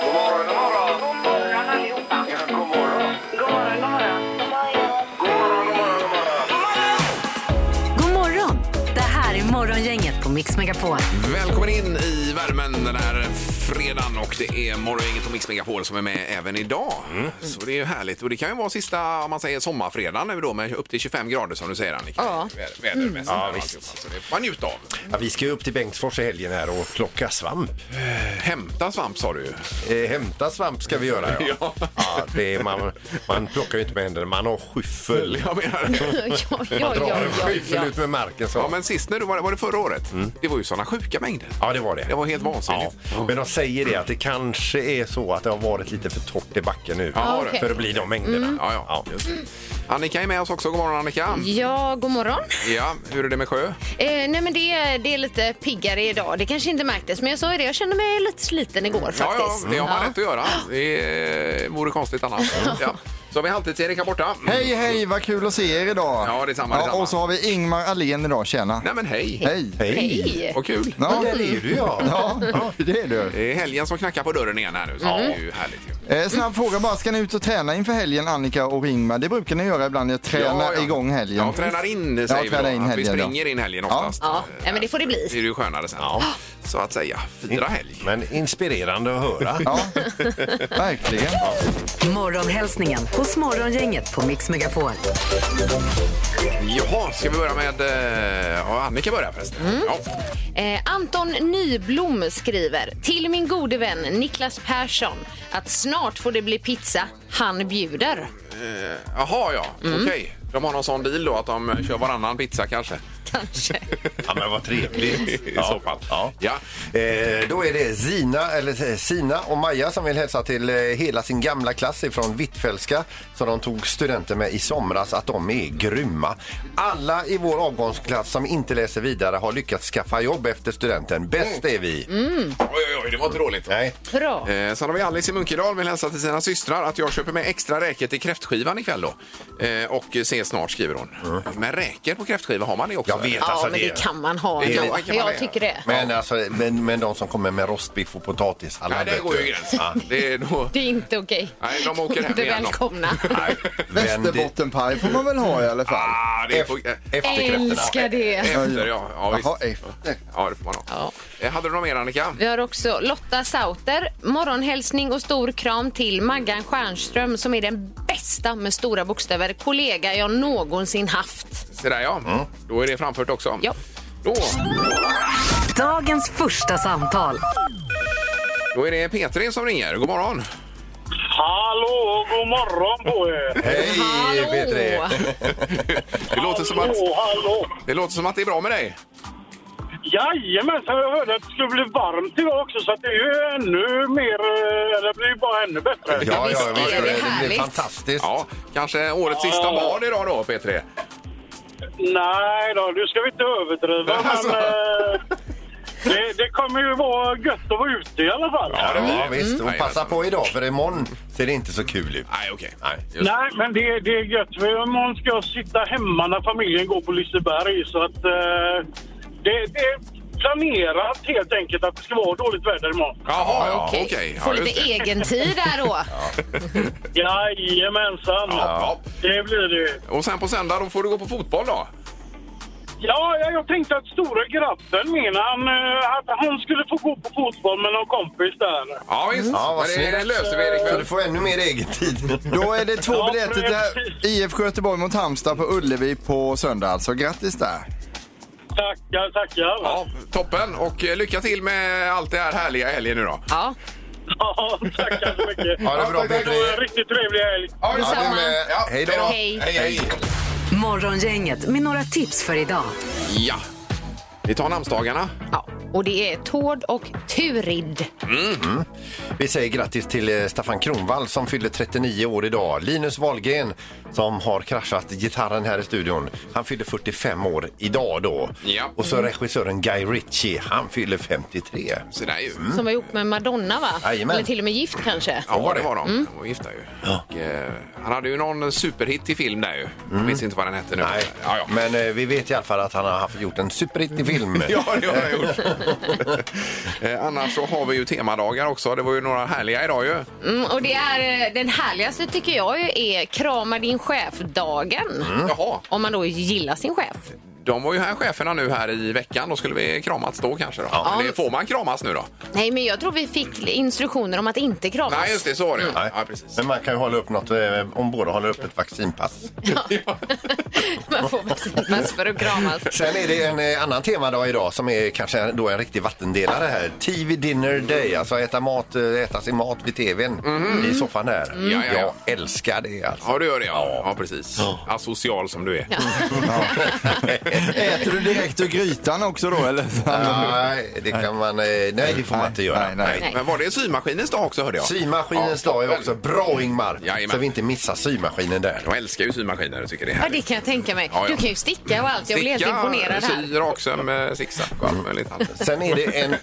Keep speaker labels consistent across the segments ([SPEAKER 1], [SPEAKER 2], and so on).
[SPEAKER 1] God morgon, god morgon. God morgon allihopa. Ja, god morgon. God morgon, god morgon. God morgon, god morgon, god morgon.
[SPEAKER 2] God morgon! Det här är Morgongänget på Mix
[SPEAKER 3] Eh,
[SPEAKER 2] Megapol.
[SPEAKER 4] Välkommen in i värmen den här fredagen och det är Morgongänget och Mix Megapol som är med även idag. Så det är ju härligt och det kan ju vara sista, om man säger sommarfredagen nu då med upp till 25 grader som du säger Annika.
[SPEAKER 2] Ja.
[SPEAKER 4] Vä-
[SPEAKER 3] Mm.
[SPEAKER 4] Vädermässigt.
[SPEAKER 5] Ja,
[SPEAKER 4] och
[SPEAKER 5] visst.
[SPEAKER 4] alltihopa. Så det får man njuta av.
[SPEAKER 5] Ja, vi ska ju upp till Bengtsfors i helgen här och plocka svamp.
[SPEAKER 4] Hämta svamp sa du ju.
[SPEAKER 5] Eh, hämta svamp ska vi göra. Ja.
[SPEAKER 4] Ja.
[SPEAKER 5] Ja, det är, man, man plockar ju inte med händerna, man har skyffel.
[SPEAKER 4] Jag menar det.
[SPEAKER 3] ja,
[SPEAKER 5] Man
[SPEAKER 3] ja,
[SPEAKER 5] drar
[SPEAKER 3] ja,
[SPEAKER 5] en
[SPEAKER 3] ja,
[SPEAKER 5] skyffel
[SPEAKER 3] ja.
[SPEAKER 5] ut med marken. Så.
[SPEAKER 4] Ja
[SPEAKER 5] Ja,
[SPEAKER 4] men sist när du var där, var det förra året? Det var ju sådana sjuka mängder.
[SPEAKER 5] det var det.
[SPEAKER 4] Det var helt vansinnigt.
[SPEAKER 5] Ja. Men de säger det att det kanske är så att det har varit lite för torrt i backen nu
[SPEAKER 4] Ja,
[SPEAKER 3] okej.
[SPEAKER 5] för att bli de mängderna.
[SPEAKER 4] Ja, ja. Just det. Annika är med oss också. God morgon Annika.
[SPEAKER 3] Ja, god morgon.
[SPEAKER 4] Ja, hur är det med sjö?
[SPEAKER 3] Eh, nej men det, är- det är lite piggare idag. Det kanske inte märktes, men jag sa ju det. Jag kände mig lite sliten igår
[SPEAKER 4] Ja,
[SPEAKER 3] faktiskt.
[SPEAKER 4] ja, det har man
[SPEAKER 6] Mm.
[SPEAKER 4] rätt att göra. Det eh, vore konstigt annars. Ja. Så har vi Halvtids-Erik här borta. Mm.
[SPEAKER 6] Hej, hej, vad kul att se er idag.
[SPEAKER 4] Ja, detsamma, detsamma.
[SPEAKER 6] Och så har vi Ingmar Ahlén idag, tjena.
[SPEAKER 4] Nej men hej!
[SPEAKER 6] Hej.
[SPEAKER 3] Hej!
[SPEAKER 4] Vad kul!
[SPEAKER 6] Ja,
[SPEAKER 5] Där är du ja.
[SPEAKER 6] ja, det är du.
[SPEAKER 4] Det är helgen som knackar på dörren igen här nu. Så
[SPEAKER 6] Mm.
[SPEAKER 4] Det är ju härligt ju.
[SPEAKER 6] Eh, snabb fråga bara, ska ni ut och träna inför helgen Annika och Ingmar? Det brukar ni göra ibland, jag tränar igång helgen.
[SPEAKER 4] Ja, tränar in
[SPEAKER 6] Ja,
[SPEAKER 4] säger vi
[SPEAKER 6] tränar
[SPEAKER 4] då.
[SPEAKER 6] in
[SPEAKER 4] Att vi
[SPEAKER 6] helgen då.
[SPEAKER 4] springer in helgen
[SPEAKER 6] Ja.
[SPEAKER 4] oftast.
[SPEAKER 3] Ja, nej, men det får det bli.
[SPEAKER 4] Det är ju skönare sen.
[SPEAKER 5] Ja.
[SPEAKER 4] Så att säga, fira helg.
[SPEAKER 5] Men inspirerande att höra.
[SPEAKER 6] Ja, verkligen.
[SPEAKER 2] Morgonhälsningen hos Morgongänget på Mix Megapol.
[SPEAKER 4] Jaha, ska vi börja med... eh, Ja, Annika börjar förresten.
[SPEAKER 6] Mm.
[SPEAKER 4] Ja.
[SPEAKER 3] Eh, Anton Nyblom skriver till min gode vän Niklas Persson att snart får det bli pizza. Han bjuder.
[SPEAKER 4] Eh, Jaha, ja.
[SPEAKER 6] Mm.
[SPEAKER 4] Okej. De har någon sån deal då att de kör varannan pizza kanske.
[SPEAKER 3] Kanske.
[SPEAKER 5] Ja, men vad trevligt.
[SPEAKER 4] I så fall.
[SPEAKER 5] Ja.
[SPEAKER 4] Ja.
[SPEAKER 5] Eh, då är det Zina, eller eh, Sina och Maja som vill hälsa till eh, hela sin gamla klass ifrån Hvitfeldtska som de tog studenten med i somras att de är grymma. Alla i vår avgångsklass som inte läser vidare har lyckats skaffa jobb efter studenten. Bäst
[SPEAKER 3] Mm.
[SPEAKER 5] är vi.
[SPEAKER 4] Oj, oj, oj, det var inte dåligt.
[SPEAKER 5] Nej.
[SPEAKER 3] Bra.
[SPEAKER 4] Eh, sen har vi Alice i Munkedal vill hälsa till sina systrar att jag köper med extra räkor till kräftskivan ikväll då. Eh, och ses snart skriver hon. Men räkor på kräftskiva har man det också?
[SPEAKER 5] Jag vet
[SPEAKER 4] eller?
[SPEAKER 5] alltså
[SPEAKER 3] ja, men det kan man ha
[SPEAKER 4] Det kan
[SPEAKER 3] ändå.
[SPEAKER 4] man det.
[SPEAKER 3] Jag tycker det.
[SPEAKER 5] Men, alltså, men, men de som kommer med rostbiff och potatissallad.
[SPEAKER 4] Nej, det
[SPEAKER 5] vet
[SPEAKER 4] går
[SPEAKER 5] du.
[SPEAKER 4] ju gränsen.
[SPEAKER 5] Ja.
[SPEAKER 4] Det är då...
[SPEAKER 3] Det är inte okej.
[SPEAKER 4] Nej, de åker hem
[SPEAKER 3] Inte
[SPEAKER 4] igen, de.
[SPEAKER 3] välkomna.
[SPEAKER 5] Nej, vänd
[SPEAKER 6] Västerbottenpaj får man väl ha i alla fall.
[SPEAKER 4] Ah, det Eh,
[SPEAKER 5] i-
[SPEAKER 4] är på... eh,
[SPEAKER 5] eft- Efterkräfterna.
[SPEAKER 3] Älskar det.
[SPEAKER 4] Efter, ja. Ja, visst.
[SPEAKER 6] Jaha, efter.
[SPEAKER 4] ja det får man ha.
[SPEAKER 3] Ja.
[SPEAKER 4] Eh, hade du något mer Annika?
[SPEAKER 3] Vi har också Lotta Sauter. Morgonhälsning och stor kram till Maggan Stjernström som är den bästa med stora bokstäver kollega jag någonsin haft.
[SPEAKER 4] Se där ja. Då är det framfört också.
[SPEAKER 3] Ja.
[SPEAKER 4] Då,
[SPEAKER 2] Dagens första samtal.
[SPEAKER 4] då är det Petri som ringer. God morgon.
[SPEAKER 7] Hallå, god morgon på er!
[SPEAKER 5] Hej
[SPEAKER 3] Hallå!
[SPEAKER 5] Petri!
[SPEAKER 4] Det låter, som att,
[SPEAKER 7] Hallå, hallå!
[SPEAKER 4] det låter som att det är bra med dig.
[SPEAKER 7] Jajamensan, jag hörde att det skulle bli varmt idag också så att det är ju ännu mer, eh, det blir ju bara ännu bättre.
[SPEAKER 5] Ja,
[SPEAKER 3] visst
[SPEAKER 5] ja,
[SPEAKER 3] är
[SPEAKER 5] visst
[SPEAKER 3] det
[SPEAKER 5] är det. det blir
[SPEAKER 3] härligt.
[SPEAKER 5] fantastiskt.
[SPEAKER 4] Ja, kanske årets sista barn idag då, Petri.
[SPEAKER 7] Nej då, nu ska vi inte överdriva
[SPEAKER 4] Alltså.
[SPEAKER 7] men eh, det, det kommer ju vara gött att vara ute i alla fall.
[SPEAKER 5] Ja, det var, visst. Och
[SPEAKER 4] Nej,
[SPEAKER 5] passa
[SPEAKER 4] vänta.
[SPEAKER 5] på idag, för imorgon ser det inte så kul ut.
[SPEAKER 4] Nej, okej.
[SPEAKER 5] Nej.
[SPEAKER 4] Just det.
[SPEAKER 7] Nej, men det, det är gött. För imorgon ska jag sitta hemma när familjen går på Liseberg. Så att eh, det, det är planerat helt enkelt att det ska vara dåligt väder imorgon.
[SPEAKER 4] Jaha, ja, okej. e-
[SPEAKER 3] Okej. Får
[SPEAKER 4] Ja, just
[SPEAKER 3] lite
[SPEAKER 4] det.
[SPEAKER 3] egen tid där då.
[SPEAKER 7] Jajamensan!
[SPEAKER 4] Ja.
[SPEAKER 7] Det blir det.
[SPEAKER 4] Och sen på söndag då får du gå på fotboll då?
[SPEAKER 7] Ja, jag, jag tänkte att stora grabben min, han, eh, att han skulle få gå på fotboll med någon kompis där.
[SPEAKER 4] Ja, visst.
[SPEAKER 5] Ja, vad
[SPEAKER 4] Men det, det
[SPEAKER 5] snyggt.
[SPEAKER 4] löser vi, Erik.
[SPEAKER 5] Så
[SPEAKER 4] väl?
[SPEAKER 5] du får ännu mer egen tid.
[SPEAKER 6] Då är det två
[SPEAKER 7] Ja,
[SPEAKER 6] biljetter till
[SPEAKER 7] precis.
[SPEAKER 6] IFK Göteborg mot Halmstad på Ullevi på söndag alltså. Grattis där.
[SPEAKER 7] Tackar, tackar. Ja,
[SPEAKER 4] Ja, toppen. Och eh, lycka till med allt det här härliga i helgen nu då.
[SPEAKER 3] Ja,
[SPEAKER 7] tackar så mycket.
[SPEAKER 5] Ha det bra,
[SPEAKER 7] tack, tack.
[SPEAKER 5] Petri.
[SPEAKER 7] en riktigt trevlig helg.
[SPEAKER 4] Ja,
[SPEAKER 3] detsamma.
[SPEAKER 5] Ja, du med.
[SPEAKER 4] Ja,
[SPEAKER 5] Eh, Hej då!
[SPEAKER 4] hej
[SPEAKER 3] hej.
[SPEAKER 4] Hej, hej.
[SPEAKER 2] Morgongänget med några tips för idag.
[SPEAKER 4] Ja. Vi tar namnsdagarna.
[SPEAKER 3] ja. Och det är Tord och Turid.
[SPEAKER 4] Mm.
[SPEAKER 5] Vi säger grattis till eh, Staffan Kronvall som fyller 39 år idag. Linus Wahlgren som har kraschat gitarren här i studion. Han fyller 45 år idag då.
[SPEAKER 4] Ja. Mm.
[SPEAKER 5] Och så regissören Guy Ritchie, han fyller 53.
[SPEAKER 4] Så där ju.
[SPEAKER 3] Som var ihop med Madonna va?
[SPEAKER 5] Jajamän.
[SPEAKER 3] Eller till och med gift kanske.
[SPEAKER 4] Ja, det Mm. var de. De var gifta ju. Och, eh, han hade ju någon superhit i film där ju. Jag minns inte vad den hette nu.
[SPEAKER 5] Nej,
[SPEAKER 4] Ja, ja.
[SPEAKER 5] men eh, vi vet i alla fall att han har haft, gjort en superhit i film.
[SPEAKER 4] Ja, det har jag gjort. Eh, Annars så har vi ju temadagar också. Det var ju några härliga idag ju.
[SPEAKER 3] Mm, och det är, eh, den härligaste tycker jag ju är krama din chef-dagen.
[SPEAKER 4] Jaha,
[SPEAKER 3] Om man då gillar sin chef.
[SPEAKER 4] de var ju här cheferna nu här i veckan. Då skulle vi kramats då kanske då. Men det får man kramas nu då?
[SPEAKER 3] Nej, men jag tror vi fick instruktioner om att inte kramas.
[SPEAKER 4] Nej, just det. Så var det ju.
[SPEAKER 5] Nej.
[SPEAKER 4] Ja, precis.
[SPEAKER 5] Men man kan ju hålla upp något eh, om båda håller upp ett vaccinpass.
[SPEAKER 3] man får vaccinpass för att kramas.
[SPEAKER 5] Sen är det en eh, annan temadag idag som är kanske en- då en riktig vattendelare här. TV dinner day, alltså äta mat, eh, äta sin mat vid tvn i soffan här.
[SPEAKER 4] Mhm. Ja, ja, ja.
[SPEAKER 5] Jag älskar det alltså.
[SPEAKER 4] Ja, du gör det ja. Ja, precis. Asocial som du är.
[SPEAKER 6] Äter du direkt ur grytan också då eller?
[SPEAKER 5] Nej, det kan man... eh, Nej, det får man inte göra.
[SPEAKER 6] Nej, nej.
[SPEAKER 4] Men var det symaskinens dag också hörde jag?
[SPEAKER 5] Symaskinens
[SPEAKER 4] Ja.
[SPEAKER 5] dag är också bra, Ingmar.
[SPEAKER 4] Jajamän.
[SPEAKER 5] Så vi inte missar symaskinen där.
[SPEAKER 4] Jag älskar ju symaskiner och tycker det är
[SPEAKER 3] Ja,
[SPEAKER 4] härligt.
[SPEAKER 3] det kan jag tänka mig.
[SPEAKER 4] Ja, ja.
[SPEAKER 3] Du kan ju sticka och allt. Jag blir helt
[SPEAKER 4] Sticka,
[SPEAKER 3] imponerad här.
[SPEAKER 4] sy, raksöm, eh, zigzag och allt möjligt.
[SPEAKER 5] Sen är det en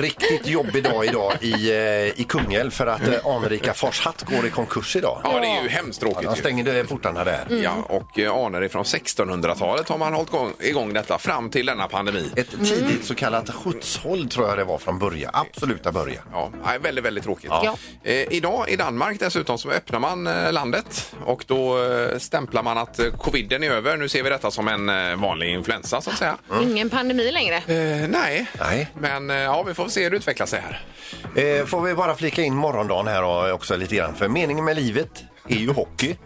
[SPEAKER 5] riktigt jobbig dag idag i, eh, i Kungälv för att eh, anrika Fors Hatt går i konkurs idag.
[SPEAKER 4] Ja, det är ju hemskt tråkigt.
[SPEAKER 5] De
[SPEAKER 4] ju.
[SPEAKER 5] stänger eh, portarna där.
[SPEAKER 4] Ja, och eh, anor ifrån 1600-talet har man hållit gång, igång detta fram till denna pandemi.
[SPEAKER 5] Ett tidigt så kallat skyddshåll tror jag det var från början. Absoluta början.
[SPEAKER 4] Ja, nej, väldigt, väldigt tråkigt.
[SPEAKER 3] Ja.
[SPEAKER 4] Eh, idag i Danmark dessutom så öppnar man eh, landet och då eh, stämplar man att eh, coviden är över. Nu ser vi detta som en eh, vanlig influensa så att säga.
[SPEAKER 3] Ingen pandemi längre.
[SPEAKER 4] Eh, nej.
[SPEAKER 5] Nej.
[SPEAKER 4] men eh, ja, vi får se hur det utvecklar sig här.
[SPEAKER 5] Eh, får vi bara flika in morgondagen här och också lite grann. För meningen med livet är ju hockey.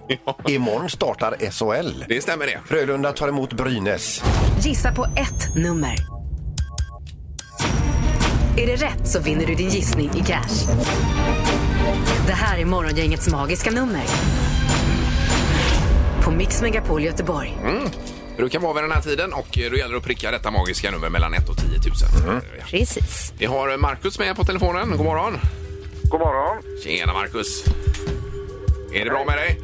[SPEAKER 5] Imorgon startar SHL.
[SPEAKER 4] Det stämmer det.
[SPEAKER 5] Frölunda tar emot Brynäs.
[SPEAKER 2] Gissa på ett nummer. Är det rätt så vinner du din gissning i cash. Det här är Morgongängets magiska nummer. På Mix Megapol Göteborg.
[SPEAKER 4] Det brukar vara vid den här tiden och eh, då gäller det att pricka detta magiska nummer mellan 1 och 10 000.
[SPEAKER 5] Mm.
[SPEAKER 4] Ja.
[SPEAKER 3] Precis.
[SPEAKER 4] Vi har eh, Markus med på telefonen. God morgon!
[SPEAKER 1] God morgon.
[SPEAKER 4] Tjena Markus! Är det bra med dig?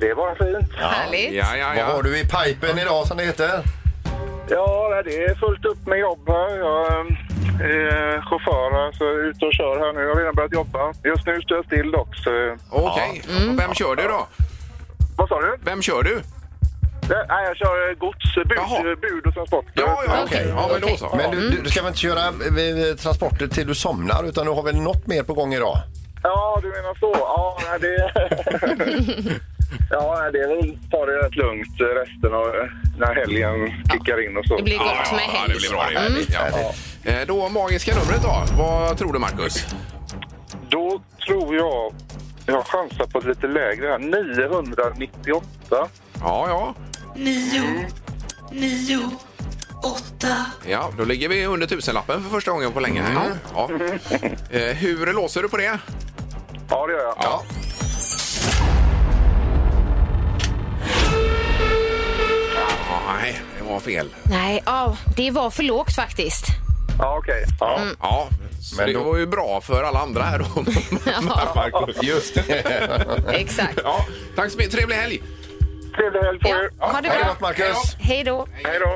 [SPEAKER 1] Det var fint.
[SPEAKER 3] Härligt.
[SPEAKER 4] Ja, ja,
[SPEAKER 5] Vad har
[SPEAKER 4] ja.
[SPEAKER 5] du i pipen idag som det heter?
[SPEAKER 1] Ja, nej, det är fullt upp med jobb här. Jag ehm, är eh, chaufför, så jag är ute och kör här nu. Jag har redan börjat jobba. Just nu står jag still dock, så...
[SPEAKER 4] Okej. Och Vem kör du då?
[SPEAKER 1] Vad sa du?
[SPEAKER 4] Vem kör du?
[SPEAKER 1] Nej, jag kör eh, gods,
[SPEAKER 4] Jaha.
[SPEAKER 1] bud, bud och transport.
[SPEAKER 4] Ja, ja,
[SPEAKER 3] Okej,
[SPEAKER 4] okej. Ja, men då
[SPEAKER 3] okej.
[SPEAKER 4] så.
[SPEAKER 5] Men du, du- du ska väl inte köra eh, eh, transporter till du somnar utan du har väl något mer på gång idag?
[SPEAKER 1] Ja, du menar så. Ja, nej, det... ja, nej, det är väl ta det rätt lugnt eh, resten av eh, när helgen kickar in och så.
[SPEAKER 3] Det blir
[SPEAKER 4] Ja,
[SPEAKER 3] gott
[SPEAKER 4] ja,
[SPEAKER 3] med
[SPEAKER 4] ja, det blir
[SPEAKER 3] helg. Mm.
[SPEAKER 4] bra det. Ja. Eh, Då magiska numret då. Vad tror du Marcus?
[SPEAKER 1] Då tror jag... Jag chansar på ett lite lägre här. 998.
[SPEAKER 4] Ja, ja.
[SPEAKER 8] nio, nio, åtta. Mm.
[SPEAKER 4] Ja, då ligger vi under tusenlappen för första gången på länge. Här. Ja. Eh, Hur låser du på det?
[SPEAKER 1] Ja, det gör jag.
[SPEAKER 4] Ja. Ja, Nej, det var fel.
[SPEAKER 3] Nej, ja, det var för lågt faktiskt.
[SPEAKER 1] Ja, okej. Ja.
[SPEAKER 4] Ja, så
[SPEAKER 5] Men
[SPEAKER 4] det
[SPEAKER 5] då-
[SPEAKER 4] var ju bra för alla andra här då. Marcus.
[SPEAKER 5] Just det.
[SPEAKER 3] Exakt.
[SPEAKER 4] Ja, tack så mycket. Trevlig helg!
[SPEAKER 1] Trevlig helg på
[SPEAKER 3] Ja,
[SPEAKER 1] er.
[SPEAKER 3] ha det
[SPEAKER 5] Ha det
[SPEAKER 3] bra.
[SPEAKER 5] gott Marcus!
[SPEAKER 3] Hej då.
[SPEAKER 1] Hej då.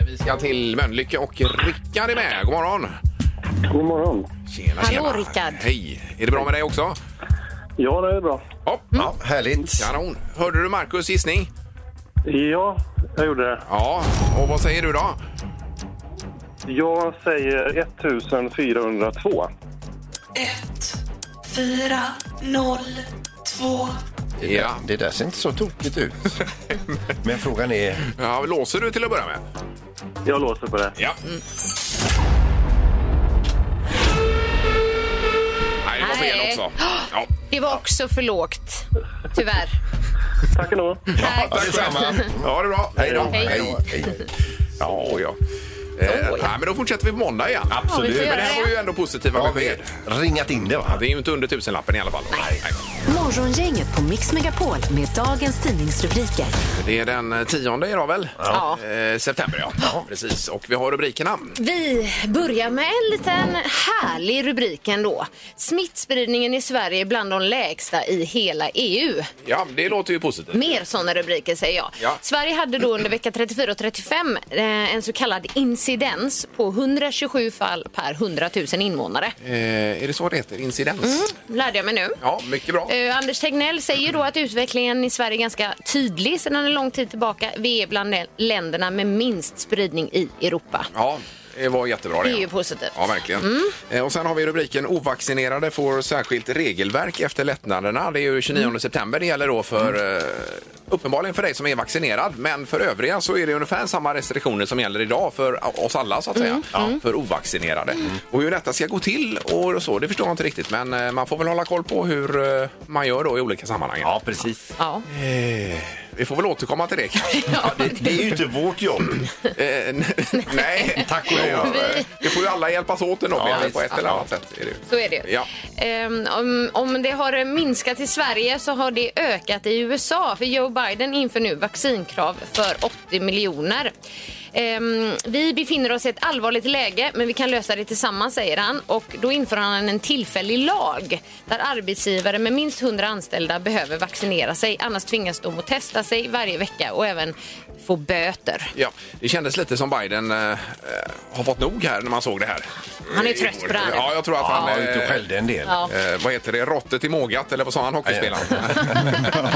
[SPEAKER 4] Eh, Vi ska till Mölnlycke och Rickard är med. God morgon!
[SPEAKER 7] God morgon.
[SPEAKER 4] Tjena,
[SPEAKER 3] Hallå,
[SPEAKER 4] tjena.
[SPEAKER 3] Rickard.
[SPEAKER 4] Hej! Är det bra med dig också?
[SPEAKER 7] Ja, det är bra.
[SPEAKER 4] Ja,
[SPEAKER 3] Mm.
[SPEAKER 5] Ja, härligt.
[SPEAKER 4] kanon. Hörde du Markus gissning?
[SPEAKER 7] Ja, jag gjorde det.
[SPEAKER 4] Ja, och vad säger du då?
[SPEAKER 7] Jag säger 1402.
[SPEAKER 8] Ett, fyra, noll, två.
[SPEAKER 4] Ja.
[SPEAKER 5] Det där ser inte så tokigt ut. Men frågan är...
[SPEAKER 4] ja, låser du till att börja med?
[SPEAKER 7] Jag låser på det.
[SPEAKER 4] Ja. Mm. Nej, det var fel
[SPEAKER 3] Nej.
[SPEAKER 4] också. Ja,
[SPEAKER 3] Det var också för lågt. Tyvärr. Eh,
[SPEAKER 7] Tack ändå.
[SPEAKER 3] Tack.
[SPEAKER 5] Tack detsamma!
[SPEAKER 4] ja det är bra. Hej då.
[SPEAKER 3] Hej.
[SPEAKER 4] Ja, ja. Eh, nej, men då fortsätter vi på måndag igen.
[SPEAKER 3] Absolut. Ja, vi får
[SPEAKER 4] Men det
[SPEAKER 3] göra
[SPEAKER 4] här var
[SPEAKER 3] det.
[SPEAKER 4] ju ändå positiva
[SPEAKER 5] Har vi
[SPEAKER 4] besked.
[SPEAKER 5] ringat in det va?
[SPEAKER 4] Det är ju inte under tusenlappen i alla fall. Nej.
[SPEAKER 2] Morgongänget på Mix Megapol med dagens tidningsrubriker.
[SPEAKER 4] Det är den eh, tionde idag väl?
[SPEAKER 3] Ja.
[SPEAKER 4] Eh, september ja. Precis. Och vi har rubrikerna.
[SPEAKER 3] Vi börjar med en liten härlig rubrik ändå. Smittspridningen i Sverige är bland de lägsta i hela E EU.
[SPEAKER 4] Ja, det låter ju positivt.
[SPEAKER 3] Mer sådana rubriker säger jag.
[SPEAKER 4] Ja.
[SPEAKER 3] Sverige hade då under vecka 34 och 35 eh, en så kallad incidens på 127 fall per 100 000 invånare.
[SPEAKER 4] Eh, är det så det heter? Incidens?
[SPEAKER 3] Lärde jag mig nu.
[SPEAKER 4] Ja, mycket bra.
[SPEAKER 3] Mm. Eh, Anders Tegnell säger då att utvecklingen i Sverige är ganska tydlig sedan en lång tid tillbaka. Vi är bland de länderna med minst spridning i Europa.
[SPEAKER 4] Ja. Det var jättebra
[SPEAKER 3] Det är ju positivt.
[SPEAKER 4] Ja, verkligen. Eh, Och sen har vi rubriken Ovaccinerade får särskilt regelverk efter lättnaderna. Det är ju 29 september det gäller då för eh, uppenbarligen för dig som är vaccinerad. Men för övriga så är det ungefär samma restriktioner som gäller idag för a- oss alla så att säga. Ja, För ovaccinerade. Och hur detta ska gå till och så, det förstår jag inte riktigt. Men eh, man får väl hålla koll på hur eh, man gör då i olika sammanhang.
[SPEAKER 9] Ja, precis.
[SPEAKER 3] Ja.
[SPEAKER 4] Eh, Vi får väl återkomma till det kanske.
[SPEAKER 9] Ja, det, det är ju inte vårt jobb.
[SPEAKER 4] Eh, n- nej, tack och lov. Det får ju alla hjälpas åt ändå, Peter, på ett eller annat sätt. Är det. ju.
[SPEAKER 3] Så är det ju.
[SPEAKER 4] Ja.
[SPEAKER 3] Ehm, om, om det har minskat i Sverige så har det ökat i USA för Joe Biden inför nu vaccinkrav för 80 miljoner. Ehm, vi befinner oss i ett allvarligt läge men vi kan lösa det tillsammans säger han och då inför han en tillfällig lag där arbetsgivare med minst 100 anställda behöver vaccinera sig annars tvingas de att testa sig varje vecka och även få böter.
[SPEAKER 4] Ja, det kändes lite som Biden eh, eh, har fått nog här när man såg det här.
[SPEAKER 3] Han är
[SPEAKER 4] I
[SPEAKER 3] trött
[SPEAKER 4] går.
[SPEAKER 3] på det här nu.
[SPEAKER 4] Ja, jag tror att
[SPEAKER 5] Han
[SPEAKER 4] han...
[SPEAKER 5] var ute och skällde en del.
[SPEAKER 3] Ja.
[SPEAKER 4] eh, vad heter det? Rottet i mågat, eller vad sa han, hockeyspelaren?
[SPEAKER 3] Ja.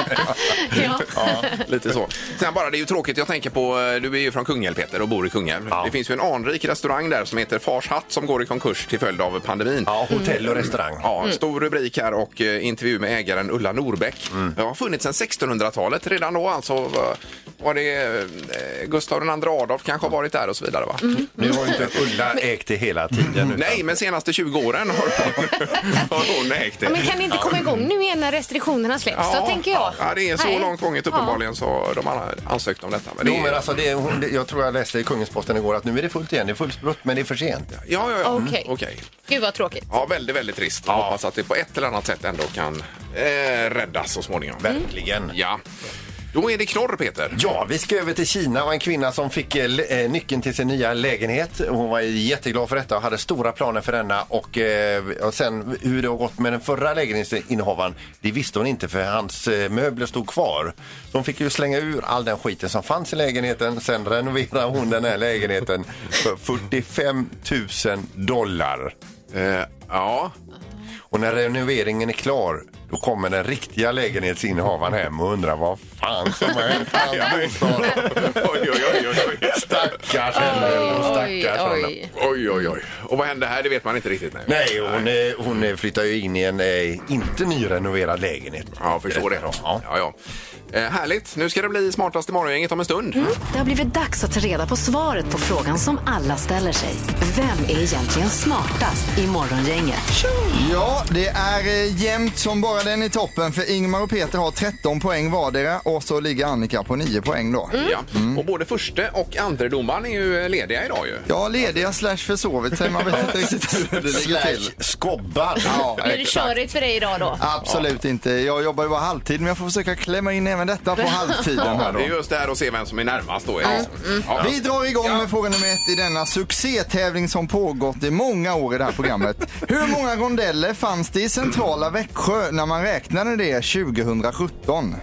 [SPEAKER 4] ja, lite så. Sen bara, det är ju tråkigt, jag tänker på, eh, du är ju från Kungälv Peter och bor i Kungälv. Det finns ju en anrik restaurang där som heter Fars hatt som går i konkurs till följd av pandemin.
[SPEAKER 5] Ja, hotell och restaurang.
[SPEAKER 4] Ja,
[SPEAKER 3] Mm.
[SPEAKER 4] en stor rubrik här och eh, intervju med ägaren Ulla Norbeck. Det har funnits sedan 1600-talet. Redan då alltså var- var det eh, Gustav II Adolf kanske har varit där och så vidare va?
[SPEAKER 3] Mm.
[SPEAKER 5] Nu har ju inte Ulla ägt det hela tiden. utan-
[SPEAKER 4] Nej, men senaste 20 åren har, har hon ägt
[SPEAKER 3] Ja, men
[SPEAKER 4] det.
[SPEAKER 3] kan ni inte komma igång nu igen när restriktionerna släpps? då tänker jag.
[SPEAKER 4] Ja, det är så
[SPEAKER 3] Nej.
[SPEAKER 4] långt gånget uppenbarligen så har de har ansökt om detta. Men det
[SPEAKER 5] Jo,
[SPEAKER 4] är,
[SPEAKER 5] men alltså, det är, hon, det- jag tror jag läste i Kungens Posten igår att nu är det fullt igen. Det är fullt sprutt, men det är för sent.
[SPEAKER 4] ja, ja, ja. Mm,
[SPEAKER 3] Okej.
[SPEAKER 4] okej.
[SPEAKER 3] Gud vad tråkigt.
[SPEAKER 4] Ja, väldigt, väldigt trist. Hoppas att det på ett eller annat sätt ändå kan eh, räddas så småningom.
[SPEAKER 3] Mm.
[SPEAKER 5] Verkligen.
[SPEAKER 4] Ja. Då är det knorr, Peter.
[SPEAKER 5] Ja, vi ska över till Kina och en kvinna som fick eh, l- eh, nyckeln till sin nya lägenhet. Hon var jätteglad för detta och hade stora planer för denna. Och, eh, och sen hur det har gått med den förra lägenhetsinnehavaren, det visste hon inte för hans eh, möbler stod kvar. Så hon fick ju slänga ur all den skiten som fanns i lägenheten. Sen renoverade hon den här lägenheten för 45 000 dollar.
[SPEAKER 4] Eh, ja.
[SPEAKER 5] Och när renoveringen är klar då kommer den riktiga lägenhetsinnehavaren hem och undrar vad fan som har hänt hans bostad.
[SPEAKER 4] Oj, oj, oj, oj, oj.
[SPEAKER 5] Stackars henne och stackars honom.
[SPEAKER 3] oj.
[SPEAKER 4] Oj, oj, oj. Och vad hände här? Det vet man inte riktigt. Nej.
[SPEAKER 5] Nej, hon, eh, hon eh, flyttar ju in i en eh, inte nyrenoverad lägenhet.
[SPEAKER 4] Ja, jag förstår det.
[SPEAKER 5] Ja.
[SPEAKER 4] Ja, ja. Eh, härligt. Nu ska det bli smartast i morgongänget om en stund. Mm.
[SPEAKER 2] Det har blivit dags att ta reda på svaret på frågan som alla ställer sig. Vem är egentligen smartast i morgongänget?
[SPEAKER 6] Ja, det är eh, jämnt som bara den i toppen för Ingmar och Peter har 13 poäng vardera och så ligger Annika på 9 poäng då.
[SPEAKER 4] Ja. Och både förste och andre domaren är ju eh, lediga idag ju.
[SPEAKER 6] Ja, lediga slash försovit sig. Man vet inte riktigt hur det ligger till.
[SPEAKER 5] Slash skobbar.
[SPEAKER 6] Ja,
[SPEAKER 3] Blir det körigt för dig idag då?
[SPEAKER 6] Absolut inte. Jag jobbar ju bara halvtid men jag får försöka klämma in även detta på halvtiden här
[SPEAKER 4] Ja,
[SPEAKER 6] då.
[SPEAKER 4] det är just det här att se vem som är närmast då. Är det liksom. ja.
[SPEAKER 6] Vi drar igång med fråga nummer ett i denna succétävling som pågått i många år i det här programmet. Hur många rondeller fanns det i centrala Växjö när man räknade det 2017?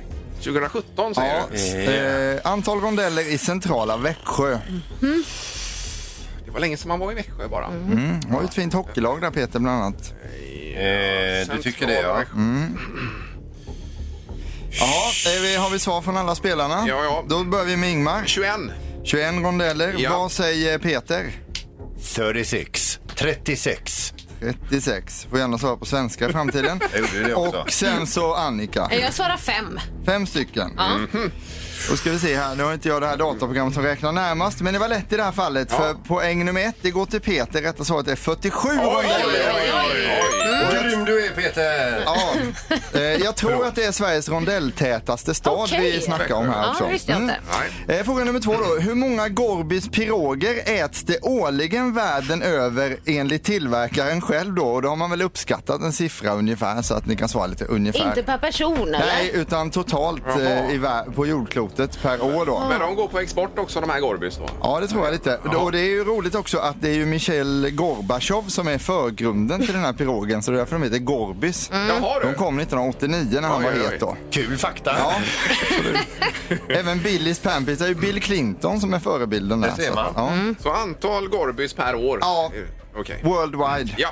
[SPEAKER 4] 2017 säger
[SPEAKER 6] Ja,
[SPEAKER 4] du?
[SPEAKER 6] eh, antal rondeller i centrala Växjö.
[SPEAKER 4] Det var länge sedan man var i Växjö bara. Mm.
[SPEAKER 6] De har ju ett fint hockeylag där Peter bland annat.
[SPEAKER 5] Eh, du tycker det,
[SPEAKER 4] Central
[SPEAKER 5] ja.
[SPEAKER 4] Växjö.
[SPEAKER 6] Ja, eh, vi- har vi svar från alla spelarna?
[SPEAKER 4] Ja, ja.
[SPEAKER 6] Då börjar vi med Ingmar.
[SPEAKER 4] 21.
[SPEAKER 6] 21 rondeller.
[SPEAKER 4] Ja.
[SPEAKER 6] Vad säger Peter?
[SPEAKER 5] 36. 36.
[SPEAKER 6] 36. Får gärna svara på svenska i framtiden.
[SPEAKER 5] Jag gjorde det också.
[SPEAKER 6] Och sen så Annika.
[SPEAKER 3] Jag svarar fem.
[SPEAKER 6] Fem stycken. Då ska vi se här. Nu har inte jag det här dataprogrammet som räknar närmast, men det var lätt i det här fallet. För poäng nummer ett, det går till Peter. Rätta svaret är 47 rondeller.
[SPEAKER 5] Grym du
[SPEAKER 9] E
[SPEAKER 5] är, Peter!
[SPEAKER 6] Ja. Eh, Jag tror att det är Sveriges rondelltätaste stad
[SPEAKER 3] Okej.
[SPEAKER 6] vi snackar om här
[SPEAKER 3] Ja,
[SPEAKER 6] också.
[SPEAKER 3] det visste jag
[SPEAKER 4] Mm.
[SPEAKER 3] inte.
[SPEAKER 6] Eh, Fråga nummer två då. Hur många Gorbis piroger äts det årligen världen över enligt tillverkaren själv då? Och då har man väl uppskattat en siffra ungefär så att ni kan svara lite ungefär.
[SPEAKER 3] Inte per person eller?
[SPEAKER 6] Nej, utan totalt eh, i vär- på jordklotet per år då.
[SPEAKER 4] Men de går på export också de här Gorbys då?
[SPEAKER 6] Ja, det tror jag lite. Och det är ju roligt också att det är ju Michail Gorbachev som är förgrunden till den här pirogen, så det är därför de heter Gorbis.
[SPEAKER 3] Mm.
[SPEAKER 4] Jaha, du.
[SPEAKER 6] De kom 1989 när han
[SPEAKER 4] Oj,
[SPEAKER 6] var
[SPEAKER 4] oj, oj.
[SPEAKER 6] het då.
[SPEAKER 5] Kul fakta.
[SPEAKER 6] Ja. Även Billys Pampers är ju Bill Clinton som är förebilden där.
[SPEAKER 5] Det ser
[SPEAKER 6] så
[SPEAKER 5] man.
[SPEAKER 6] att, ja.
[SPEAKER 4] Så antal Gorbys per år?
[SPEAKER 6] Ja.
[SPEAKER 4] Okej.
[SPEAKER 6] Worldwide.
[SPEAKER 4] Ja.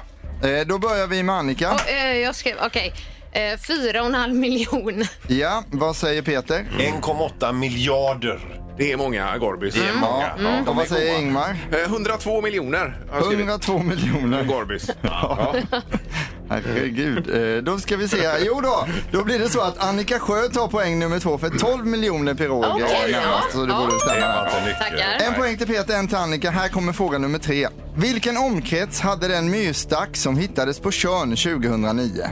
[SPEAKER 6] Eh, Då börjar vi med Annika.
[SPEAKER 3] Och, eh, jag skrev, okej. Eh, Fyra och en halv miljon.
[SPEAKER 4] Mm.
[SPEAKER 6] Ja, vad säger Peter?
[SPEAKER 5] 1,8 miljarder.
[SPEAKER 4] Det är många Gorbys. Det är många. Ja, de
[SPEAKER 6] Och
[SPEAKER 4] är
[SPEAKER 6] vad säger
[SPEAKER 4] goa.
[SPEAKER 6] Ingmar?
[SPEAKER 4] Eh, 102 miljoner har jag skrivit.
[SPEAKER 6] 102 miljoner.
[SPEAKER 4] Gorbys. Ja.
[SPEAKER 6] Herregud. Eh, Då ska vi se här. Jo då, då blir det så att Annika Sjö tar poäng nummer två för 12 miljoner piroger.
[SPEAKER 3] Okej, ja.
[SPEAKER 6] Så det borde stämma.
[SPEAKER 9] Inte mycket.
[SPEAKER 3] Tackar.
[SPEAKER 6] En poäng till Peter, en till Annika. Här kommer fråga nummer tre. Vilken omkrets hade den myrstack som hittades på Tjörn 2009?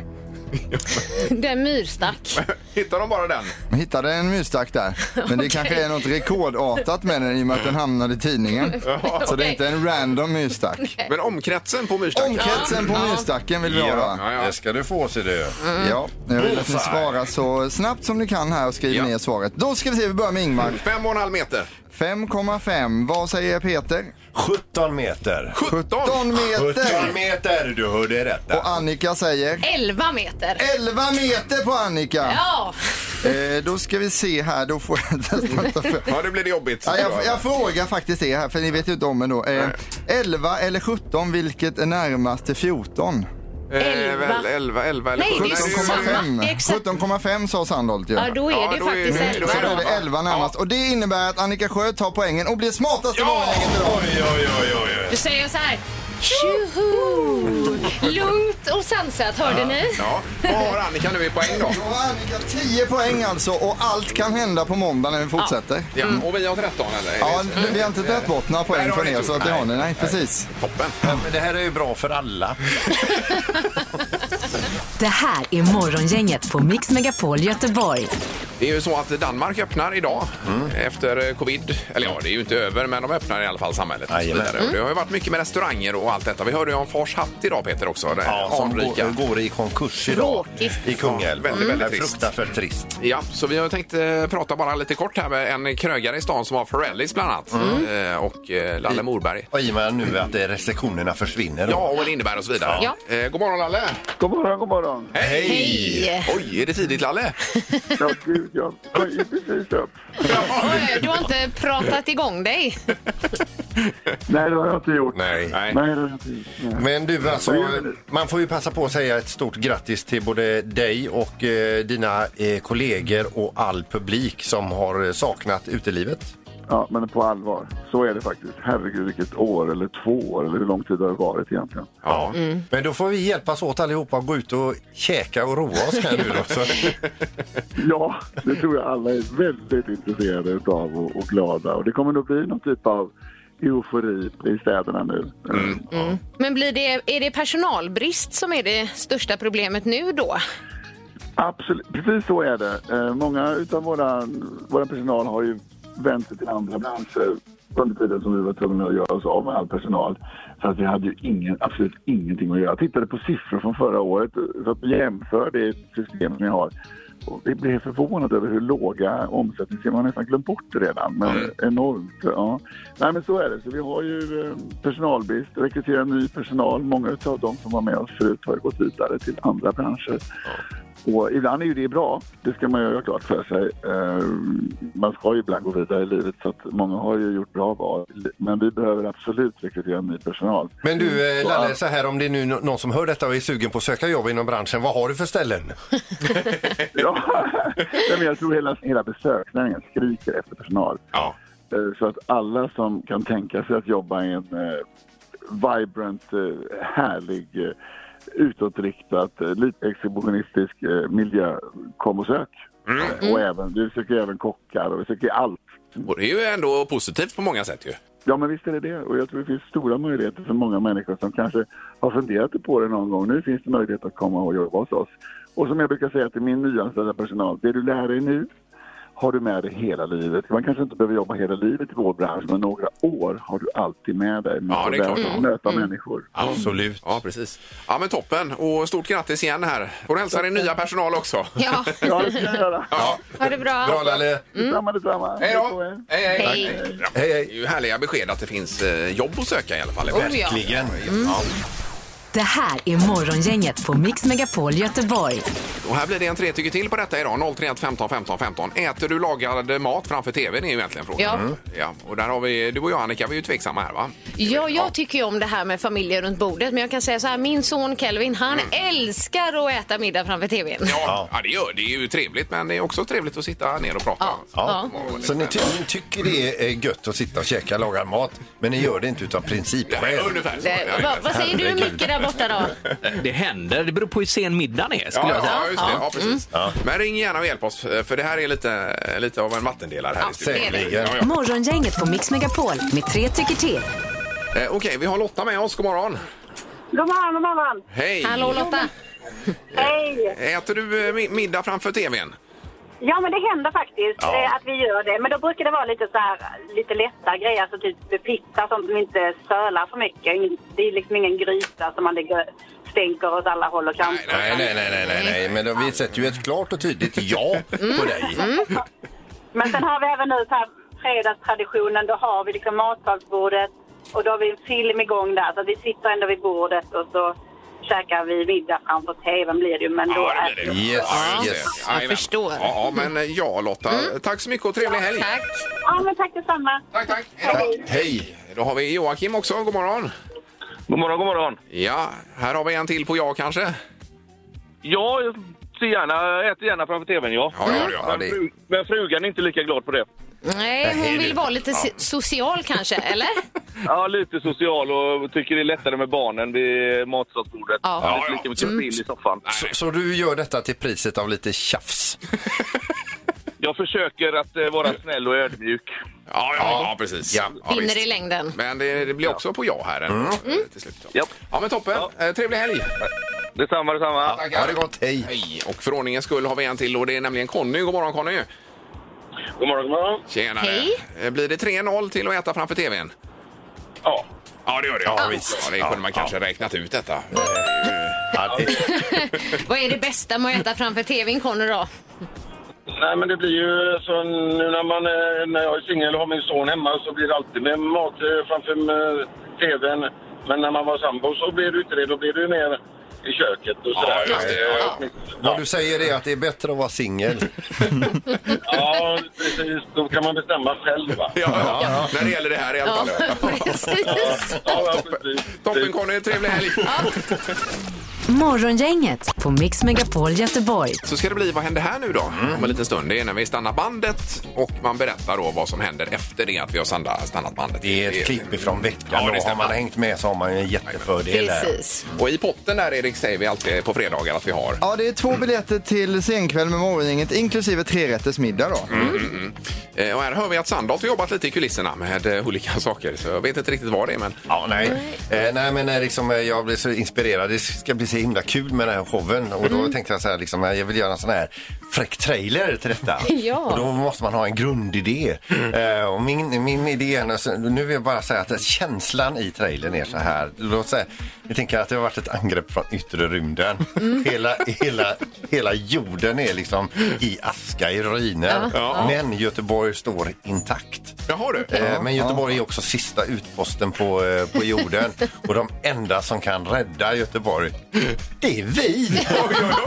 [SPEAKER 3] Det är myrstack.
[SPEAKER 4] Hittar de bara den?
[SPEAKER 6] Man hittade en myrstack där. Men det kanske är något rekordartat med den i och med att den hamnade i tidningen. Så det är inte en random myrstack.
[SPEAKER 4] Men omkretsen på myrstacken?
[SPEAKER 6] Omkretsen på myrstacken vill vi ha va?
[SPEAKER 4] Ja, ja.
[SPEAKER 9] Det ska du få se du.
[SPEAKER 6] Ja, jag vill att ni
[SPEAKER 9] Bullseye.
[SPEAKER 6] svarar så snabbt som ni kan här och skriver
[SPEAKER 4] Ja.
[SPEAKER 6] ner svaret. Då ska vi se, vi börjar med Ingmar.
[SPEAKER 4] Mm. Fem och en halv meter.
[SPEAKER 6] 5,5. Vad säger Peter?
[SPEAKER 9] 17 meter.
[SPEAKER 4] 17!
[SPEAKER 6] 17
[SPEAKER 9] 17
[SPEAKER 6] meter!
[SPEAKER 9] meter, du hörde rätt där.
[SPEAKER 6] Och Annika säger?
[SPEAKER 3] 11 meter.
[SPEAKER 6] 11 meter på Annika!
[SPEAKER 3] Ja,
[SPEAKER 6] Eh, då ska vi se här, då får jag nästan ta för...
[SPEAKER 4] Ja, det blir det jobbigt.
[SPEAKER 6] Ja, jag, jag frågar faktiskt er här, för ni vet ju inte om ändå. Eh, 11 eller 17, vilket är närmast till 14?
[SPEAKER 4] Eh, väl, 11, 11 eller
[SPEAKER 3] Nej, det är
[SPEAKER 6] 17,5.
[SPEAKER 3] samma. Det är exakt-
[SPEAKER 6] 17,5 sa Sandholt ju.
[SPEAKER 3] ja då är
[SPEAKER 4] Ja,
[SPEAKER 3] det
[SPEAKER 4] då är
[SPEAKER 3] faktiskt
[SPEAKER 4] det-
[SPEAKER 6] Så då är
[SPEAKER 3] 11.
[SPEAKER 6] det 11 närmast. Och det innebär att Annika Sjö tar poängen och blir smartast i morgongänget idag.
[SPEAKER 9] Oj, oj, oj, oj.
[SPEAKER 3] Du säger så här. Tjoho! Lugnt och sansat, hörde ni?
[SPEAKER 4] Ja. Vad har Annika nu i poäng då?
[SPEAKER 6] Då har Annika 10 poäng alltså och allt kan hända på måndag när vi fortsätter.
[SPEAKER 4] Ja, och vi har 13 eller?
[SPEAKER 6] Ja, vi har inte tagit bort några poäng
[SPEAKER 4] Nej, det har
[SPEAKER 6] från
[SPEAKER 4] ni
[SPEAKER 6] er
[SPEAKER 4] inte
[SPEAKER 6] så
[SPEAKER 4] gjort.
[SPEAKER 6] att det har ni.
[SPEAKER 4] Nej.
[SPEAKER 6] Nej, precis.
[SPEAKER 4] Toppen.
[SPEAKER 9] Ja, men det här är ju bra för alla.
[SPEAKER 2] Det här är Morgongänget på Mix Megapol Göteborg.
[SPEAKER 4] Det är ju så att Danmark öppnar idag
[SPEAKER 9] Mm.
[SPEAKER 4] efter eh, covid. Eller ja, det är ju inte över, men de öppnar i alla fall samhället. Och så
[SPEAKER 9] Jajamän. Mm.
[SPEAKER 4] vidare. Och Det har ju varit mycket med restauranger och allt detta. Vi hörde ju om Fars hatt idag, Peter, också. Det
[SPEAKER 9] Ja, som
[SPEAKER 4] anrika.
[SPEAKER 9] går, går i konkurs idag.
[SPEAKER 3] Tråkigt.
[SPEAKER 9] I Kungälv.
[SPEAKER 4] Ja, väldigt, väldigt
[SPEAKER 9] Det är
[SPEAKER 4] trist.
[SPEAKER 9] Fruktansvärt trist.
[SPEAKER 4] Ja, så vi har tänkt eh, prata bara lite kort här med en krögare i stan som har Ferrellis bland annat. Eh, och eh, Lalle Morberg.
[SPEAKER 9] Och Mm. i och med nu att eh, restriktionerna försvinner. då.
[SPEAKER 4] Ja, och Lindeberg och så vidare.
[SPEAKER 3] Ja.
[SPEAKER 4] Eh, god morgon, Lalle!
[SPEAKER 1] God morgon, god morgon.
[SPEAKER 4] Hej!
[SPEAKER 3] Hej!
[SPEAKER 4] Oj, är det tidigt, Lalle?
[SPEAKER 1] Ja, gud, jag var ju precis upp.
[SPEAKER 3] Oj, Du har inte pratat igång dig.
[SPEAKER 1] Nej, det har jag inte gjort.
[SPEAKER 9] Nej.
[SPEAKER 1] Nej, det har jag inte gjort. Nej.
[SPEAKER 9] Men du, alltså, man får ju passa på att säga ett stort grattis till både dig och eh, dina eh, kollegor och all publik som har eh, saknat utelivet.
[SPEAKER 1] Ja, men på allvar, så är det faktiskt. Herregud, vilket år eller två år eller hur lång tid har det varit egentligen?
[SPEAKER 9] Ja. Men då får vi hjälpas åt allihopa att gå ut och käka och roa oss här nu då. Så.
[SPEAKER 1] Ja, det tror jag alla är väldigt intresserade utav och, och glada. Och det kommer nog bli någon typ av eufori i städerna nu.
[SPEAKER 3] Men blir det, är det personalbrist som är det största problemet nu då?
[SPEAKER 1] Absolut, precis så är det. Eh, många utav våra, våra personal har ju vänt sig till andra branscher under tiden som vi var tvungna att göra oss av med all personal. Så att vi hade ju ingen, absolut ingenting att göra. Jag tittade på siffror från förra året så att vi jämför det system vi har. Och vi blev förvånad över hur låga omsättningssiffror, man har nästan glömt bort det redan, men enormt. Ja. Nej men så är det, så vi har ju eh, personalbrist, rekryterar ny personal. Många utav de som var med oss förut har ju gått vidare till andra branscher. Och ibland är ju det bra, det ska man ju göra klart för sig. Eh, Man ska ju ibland gå vidare i livet så att många har ju gjort bra val. Men vi behöver absolut rekrytera ny personal.
[SPEAKER 9] Men du, eh, Lalle, så här om det är nu nå- någon som hör detta och är sugen på att söka jobb inom branschen, vad har du för ställen?
[SPEAKER 1] Ja. Nej, men jag tror hela, hela besöksnäringen skriker efter personal.
[SPEAKER 4] Ja.
[SPEAKER 1] Eh, Så att alla som kan tänka sig att jobba i en eh, vibrant, eh, härlig, eh, utåtriktad, eh, lite exhibitionistisk eh, miljö, kom och sök. Eh, Och även, vi söker även kockar och vi söker allt.
[SPEAKER 4] Och det är ju ändå positivt på många sätt ju.
[SPEAKER 1] Ja, men visst är det det. Och jag tror det finns stora möjligheter för många människor som kanske har funderat på det någon gång. Nu finns det möjlighet att komma och jobba hos oss. Och som jag brukar säga till min nyanställda personal, det du lär dig nu har du med dig hela livet. Man kanske inte behöver jobba hela livet i vår bransch, men några år har du alltid med dig. Man
[SPEAKER 4] Ja,
[SPEAKER 1] får
[SPEAKER 4] det är
[SPEAKER 1] lära
[SPEAKER 4] klart.
[SPEAKER 1] dig att möta
[SPEAKER 10] Mm.
[SPEAKER 1] människor.
[SPEAKER 9] Absolut.
[SPEAKER 4] Ja, precis. Ja, men toppen. Och stort grattis igen här. Får du hälsa din nya personal också.
[SPEAKER 3] Ja,
[SPEAKER 1] Ja, det ska jag göra.
[SPEAKER 3] ha det
[SPEAKER 9] Bra
[SPEAKER 3] bra.
[SPEAKER 9] Lalle!
[SPEAKER 1] Detsamma, detsamma.
[SPEAKER 4] Hej
[SPEAKER 1] på
[SPEAKER 4] då!
[SPEAKER 1] er.
[SPEAKER 4] Hej, hej.
[SPEAKER 3] Hej.
[SPEAKER 4] Tack. Ja,
[SPEAKER 9] Hej,
[SPEAKER 4] Det
[SPEAKER 9] hej!
[SPEAKER 4] är ju härliga besked att det finns eh, jobb att söka i alla fall.
[SPEAKER 3] Oh, ja.
[SPEAKER 9] Verkligen.
[SPEAKER 2] Det här är Morgongänget på Mix Megapol Göteborg.
[SPEAKER 4] Och här blir det en tre tycker till på detta idag. 031 15 15 15. Äter du lagad mat framför tvn är ju egentligen frågan.
[SPEAKER 3] Ja. Mm.
[SPEAKER 4] ja. Och där har vi, du och jag Annika, vi är ju tveksamma här va?
[SPEAKER 3] Ja, jag tycker ju om det här med familjer runt bordet, men jag kan säga så här, min son Kelvin, han älskar att äta middag framför tvn.
[SPEAKER 4] Ja, ja det, gör, det är ju trevligt men det är också trevligt att sitta ner och prata.
[SPEAKER 3] Ja. Ja.
[SPEAKER 4] Och-
[SPEAKER 5] Så ni, ty ni tycker det är gött att sitta och käka lagad mat, men ni gör det inte utav
[SPEAKER 4] Ja,
[SPEAKER 5] principskäl?
[SPEAKER 4] ungefär så.
[SPEAKER 3] Det,
[SPEAKER 4] Ja,
[SPEAKER 3] vad, vad säger du
[SPEAKER 5] Herregud.
[SPEAKER 3] Micke där borta då?
[SPEAKER 11] Det händer. Det beror på hur sen middagen är. Skulle
[SPEAKER 4] Ja,
[SPEAKER 11] jag säga.
[SPEAKER 4] ja, just det. Ja, precis. Men ring gärna och hjälp oss, för det här är lite, lite av en vattendelare här
[SPEAKER 3] Ja,
[SPEAKER 4] i studion.
[SPEAKER 3] det är det.
[SPEAKER 4] Ja, ja.
[SPEAKER 2] Morgongänget på Mix Megapol med tre tycker till.
[SPEAKER 4] Eh, Okej, vi har Lotta med oss. God morgon.
[SPEAKER 10] God morgon, god morgon.
[SPEAKER 4] Hej!
[SPEAKER 3] Hallå Lotta!
[SPEAKER 10] Hej!
[SPEAKER 4] Äter du eh, mi- middag framför tvn?
[SPEAKER 10] Ja, men det händer faktiskt
[SPEAKER 4] Ja.
[SPEAKER 10] eh, att vi gör det. Men då brukar det vara lite så här, lite lätta grejer, alltså typ pizza sånt som inte sölar för mycket. Ingen- Det är liksom ingen gryta som man ligger stänker åt alla håll och kanter.
[SPEAKER 5] Nej, nej, nej, nej, nej, nej, men då- vi sätter ju ett klart och tydligt ja på dig.
[SPEAKER 10] Men sen har vi även nu så här fredagstraditionen, då har vi liksom matsalsbordet och då har vi en film igång där. Så vi sitter ändå vid bordet och så käkar vi middag framför tvn blir det ju. Men då är
[SPEAKER 4] det blir det.
[SPEAKER 5] Yes,
[SPEAKER 4] Ja, just det.
[SPEAKER 5] yes.
[SPEAKER 3] Jag
[SPEAKER 4] Jajamän.
[SPEAKER 3] förstår.
[SPEAKER 4] Ja, ja, men eh, ja Lotta. Tack så mycket och trevlig helg.
[SPEAKER 3] Tack!
[SPEAKER 10] Ja, men tack detsamma.
[SPEAKER 4] tack. tack.
[SPEAKER 10] Hej.
[SPEAKER 4] Hej. Då har vi Joakim också. God morgon.
[SPEAKER 12] God morgon, god morgon.
[SPEAKER 4] Ja, här har vi en till på ja kanske.
[SPEAKER 12] Ja, jag ser gärna, jag äter gärna framför tvn, ja.
[SPEAKER 4] Ja, ja, ja.
[SPEAKER 5] Ja,
[SPEAKER 13] Mm.
[SPEAKER 12] Men,
[SPEAKER 5] det-
[SPEAKER 12] fru, men frugan är inte lika glad på det.
[SPEAKER 3] Nej, hon
[SPEAKER 5] Hej,
[SPEAKER 3] vill
[SPEAKER 5] du.
[SPEAKER 3] vara lite si- social kanske, eller?
[SPEAKER 12] Ja, lite social och tycker det är lättare med barnen vid matsalsbordet.
[SPEAKER 3] Ja.
[SPEAKER 12] Det är inte lika mycket spill i soffan.
[SPEAKER 5] Så, så du gör detta till priset av lite tjafs?
[SPEAKER 12] Jag försöker att eh, vara snäll och ödmjuk.
[SPEAKER 4] Ja, ja, ja precis. Ja,
[SPEAKER 3] Vinner
[SPEAKER 4] visst.
[SPEAKER 3] i längden.
[SPEAKER 4] Men det, det blir också på ja här ändå, eh, till slut.
[SPEAKER 12] Japp.
[SPEAKER 4] Ja, men toppen. Eh, Trevlig helg.
[SPEAKER 12] Detsamma, detsamma.
[SPEAKER 5] Ha det gott, hej!
[SPEAKER 4] Hej. Och för ordningens skull har vi en till och det är nämligen Conny. God morgon Conny.
[SPEAKER 12] God morgon, god morgon.
[SPEAKER 4] Tjenare.
[SPEAKER 3] Hej.
[SPEAKER 4] Eh, Blir det 3-0 till att äta framför tvn?
[SPEAKER 12] Ja.
[SPEAKER 4] Ja, det gör det. Ja,
[SPEAKER 5] visst.
[SPEAKER 4] det kunde man kanske räknat ut detta.
[SPEAKER 5] Ja, det-
[SPEAKER 3] Vad är det bästa med att äta framför tvn Conny då?
[SPEAKER 12] Nej, men det blir ju så nu när, man, eh, när jag är singel och har min son hemma så blir det alltid med mat eh, framför eh, tvn. Men när man var sambo så blir det inte det. Då blir det ju mer i köket och sådär.
[SPEAKER 4] Ja, just det.
[SPEAKER 12] Ja,
[SPEAKER 5] Vad du säger är att det är bättre att vara singel.
[SPEAKER 12] ja, precis. Då kan man bestämma själv, va?
[SPEAKER 4] Ja, ja, När det gäller det här i alla
[SPEAKER 3] Ja,
[SPEAKER 4] fall.
[SPEAKER 3] precis.
[SPEAKER 12] Ja, ja, precis.
[SPEAKER 4] Toppen Conny, trevlig helg!
[SPEAKER 2] Morgongänget på Mix Megapol Göteborg.
[SPEAKER 4] Så ska det bli Vad händer här nu då? Om en liten stund. Det är när vi stannar bandet och man berättar då vad som händer efter det att vi har standa- stannat bandet.
[SPEAKER 5] Det är ett klipp ifrån
[SPEAKER 4] Ja,
[SPEAKER 5] veckan
[SPEAKER 4] det
[SPEAKER 5] och har man
[SPEAKER 4] stämmer.
[SPEAKER 5] hängt med så har man ju en jättefördel där.
[SPEAKER 3] Precis.
[SPEAKER 4] Och i potten där Erik säger vi alltid på fredagar att vi har.
[SPEAKER 6] Ja, det är två biljetter till senkväll med Morgongänget inklusive trerätters middag då.
[SPEAKER 4] Eh, Och här hör vi att Sandholt har jobbat lite i kulisserna med eh, olika saker. Så jag vet inte riktigt vad det är men
[SPEAKER 5] Ja, nej. Eh, nej, men eh, liksom, eh, jag blev så inspirerad. Det ska bli så himla kul med den här showen. Och då tänkte jag så här, liksom, eh, jag vill göra en sån här fräck trailer till detta.
[SPEAKER 3] Ja.
[SPEAKER 5] Och då måste man ha en grundidé. Eh, och min, min idé, är nu- så- nu vill jag bara säga att känslan i trailern är så här. Låt säga, vi tänker att det har varit ett angrepp från yttre rymden. Hela, hela, hela jorden är liksom i aska, i ruiner. Men Göteborg står intakt.
[SPEAKER 4] Jaha du.
[SPEAKER 5] Eh, Men Göteborg är också sista utposten på, eh, på jorden. Och de enda som kan rädda Göteborg, det är vi!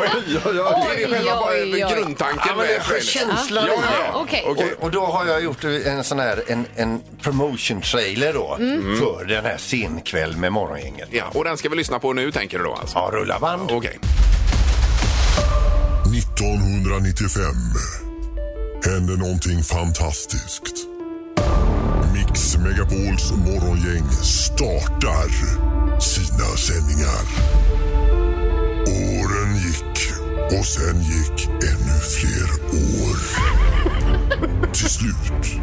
[SPEAKER 4] det är själva
[SPEAKER 3] Oj, oj, oj.
[SPEAKER 4] bara grundtanken
[SPEAKER 5] Ja, men det
[SPEAKER 4] med
[SPEAKER 5] är för
[SPEAKER 4] trailern.
[SPEAKER 5] känslan i det.
[SPEAKER 3] ja, okej.
[SPEAKER 4] Okej.
[SPEAKER 5] Och, och då har jag gjort en sån här en, en promotion trailer då
[SPEAKER 9] Mm.
[SPEAKER 5] för den här scenkväll med Morgongänget.
[SPEAKER 4] Ja, och den ska vi lyssna på nu tänker du då alltså?
[SPEAKER 5] Ja, rulla band.
[SPEAKER 4] Okej.
[SPEAKER 13] 1995 hände någonting fantastiskt. Mix Megapols morgongäng startar sina sändningar. Åren gick och sen gick ännu fler år. Till slut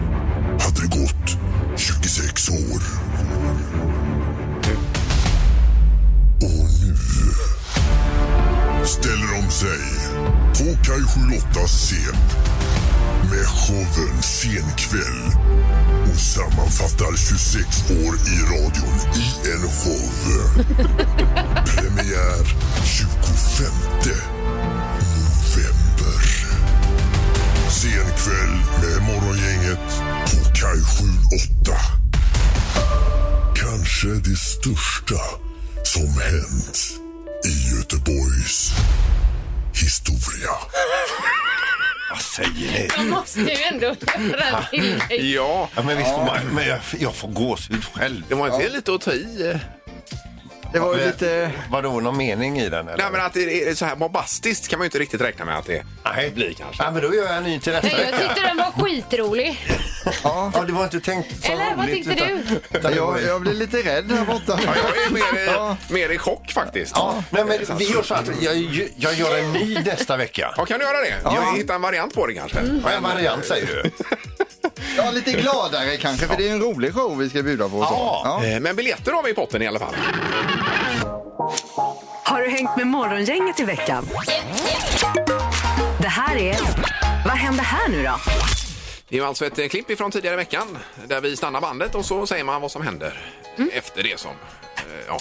[SPEAKER 13] hade det gått 26 år. Och nu ställer de sig på Kaj 78 scen med showen Senkväll och sammanfattar 26 år i radion i en show. Premiär 25 november. Senkväll med Morgongänget på Kaj 78. Kanske det största som hänt
[SPEAKER 9] säger ni?
[SPEAKER 3] Jag måste ju ändå göra det till dig.
[SPEAKER 4] Ja.
[SPEAKER 9] ja men visst får man, men jag, jag får gåshud själv.
[SPEAKER 4] Det var inte lite att ta i.
[SPEAKER 6] Det var ju lite...
[SPEAKER 9] Vadå, någon mening i den eller?
[SPEAKER 4] Nej, men att det är så här bombastiskt kan man ju inte riktigt räkna med att det
[SPEAKER 9] Nej.
[SPEAKER 4] blir kanske.
[SPEAKER 9] Ja, men då gör jag en ny till nästa
[SPEAKER 3] Nej, jag tyckte den var skitrolig.
[SPEAKER 9] Ja, det var inte tänkt så
[SPEAKER 3] Eller, vad
[SPEAKER 9] roligt,
[SPEAKER 3] tyckte du?
[SPEAKER 9] utan det var
[SPEAKER 6] Jag,
[SPEAKER 9] ju-
[SPEAKER 6] jag blir lite rädd här borta.
[SPEAKER 4] Ja, jag är mer i,
[SPEAKER 6] Ja.
[SPEAKER 4] mer i chock faktiskt. Eh,
[SPEAKER 9] Ja, nej, men vi gör så att jag, jag gör en ny nästa vecka.
[SPEAKER 4] Ja, kan du göra det? Jag hittar en variant på det kanske.
[SPEAKER 5] Mm.
[SPEAKER 9] Ja, en variant säger du.
[SPEAKER 6] Ja, lite gladare kanske, för det är en rolig show vi ska bjuda på. och Så.
[SPEAKER 4] Ja. eh, Men biljetter har vi i potten i alla fall.
[SPEAKER 2] Har du hängt med Morgongänget i veckan? Det här är... Vad händer här nu då?
[SPEAKER 4] Det är ju alltså ett eh, klipp ifrån tidigare veckan där vi stannar bandet och så säger man vad som händer efter det som... eh, Ja,